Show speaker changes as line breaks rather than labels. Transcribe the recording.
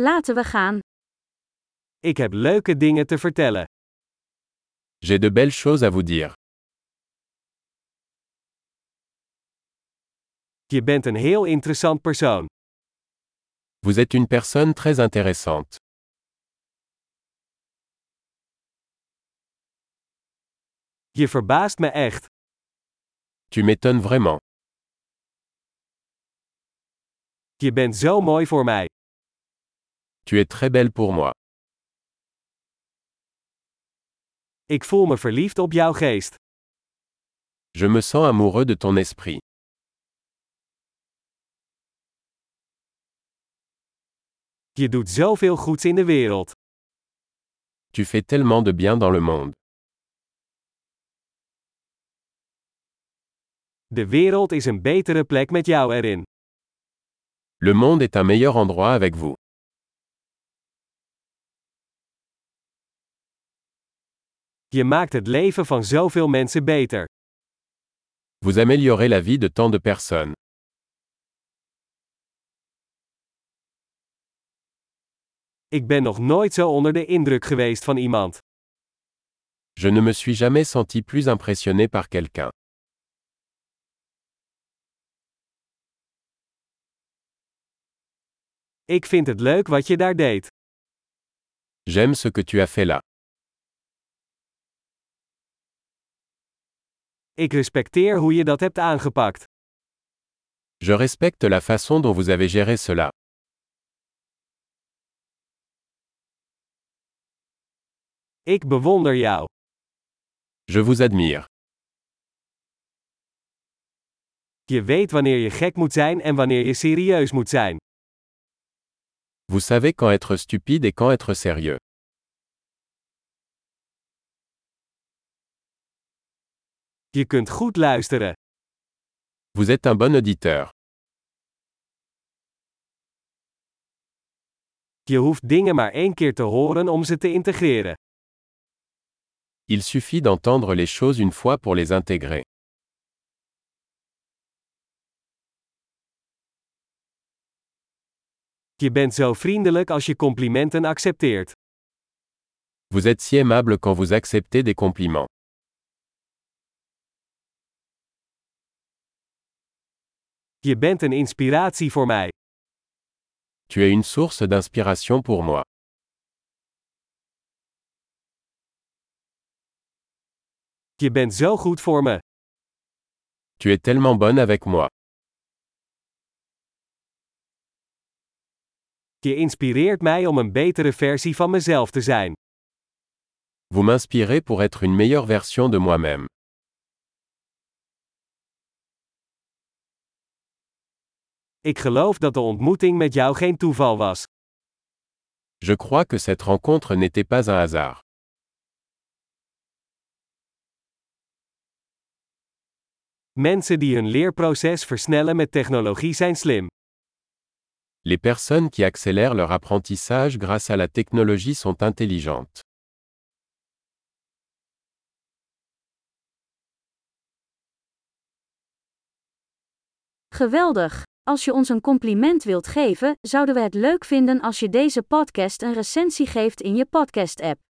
Laten we gaan.
Ik heb leuke dingen te vertellen.
J'ai de belles choses à vous dire.
Je bent een heel interessant persoon.
Vous êtes une personne très intéressante.
Je verbaast me echt.
Tu m'étonnes vraiment.
Je bent zo mooi voor mij.
Tu es très belle pour moi.
Ik voel me verliefd op jouw geest.
Je me sens amoureux de ton esprit.
Je doet zoveel goeds in de wereld.
Tu fais tellement de bien dans le monde.
De wereld is een betere plek met jou erin.
Le monde est un meilleur endroit avec vous.
Je maakt het leven van zoveel mensen beter.
Vous améliorez la vie de tant de personnes.
Ik ben nog nooit zo onder de indruk geweest van iemand.
Je ne me suis jamais senti plus impressionné par quelqu'un.
Ik vind het leuk wat je daar deed.
J'aime ce que tu as fait là.
Ik respecteer hoe je dat hebt aangepakt.
Je respecte la façon dont vous avez géré cela.
Ik bewonder jou.
Je vous admire.
Je weet wanneer je gek moet zijn en wanneer je serieus moet zijn.
Vous savez quand être stupide et quand être sérieux.
Je kunt goed luisteren.
Vous êtes un bon auditeur.
Je hoeft dingen maar één keer te horen om ze te integreren.
Il suffit d'entendre les choses une fois pour les intégrer.
Je bent zo vriendelijk als je complimenten accepteert.
Vous êtes si aimable quand vous acceptez des compliments.
Je bent een inspiratie voor mij.
Tu es une source d'inspiration pour moi.
Je bent zo goed voor me.
Tu es tellement bonne avec moi.
Je inspireert mij om een betere versie van mezelf te zijn.
Vous m'inspirez pour être une meilleure version de moi-même.
Ik geloof dat de ontmoeting met jou geen toeval was.
Je crois que cette rencontre n'était pas un hasard.
Mensen die hun leerproces versnellen met technologie zijn slim.
Les personnes qui accélèrent leur apprentissage grâce à la technologie sont intelligentes.
Geweldig! Als je ons een compliment wilt geven, zouden we het leuk vinden als je deze podcast een recensie geeft in je podcast-app.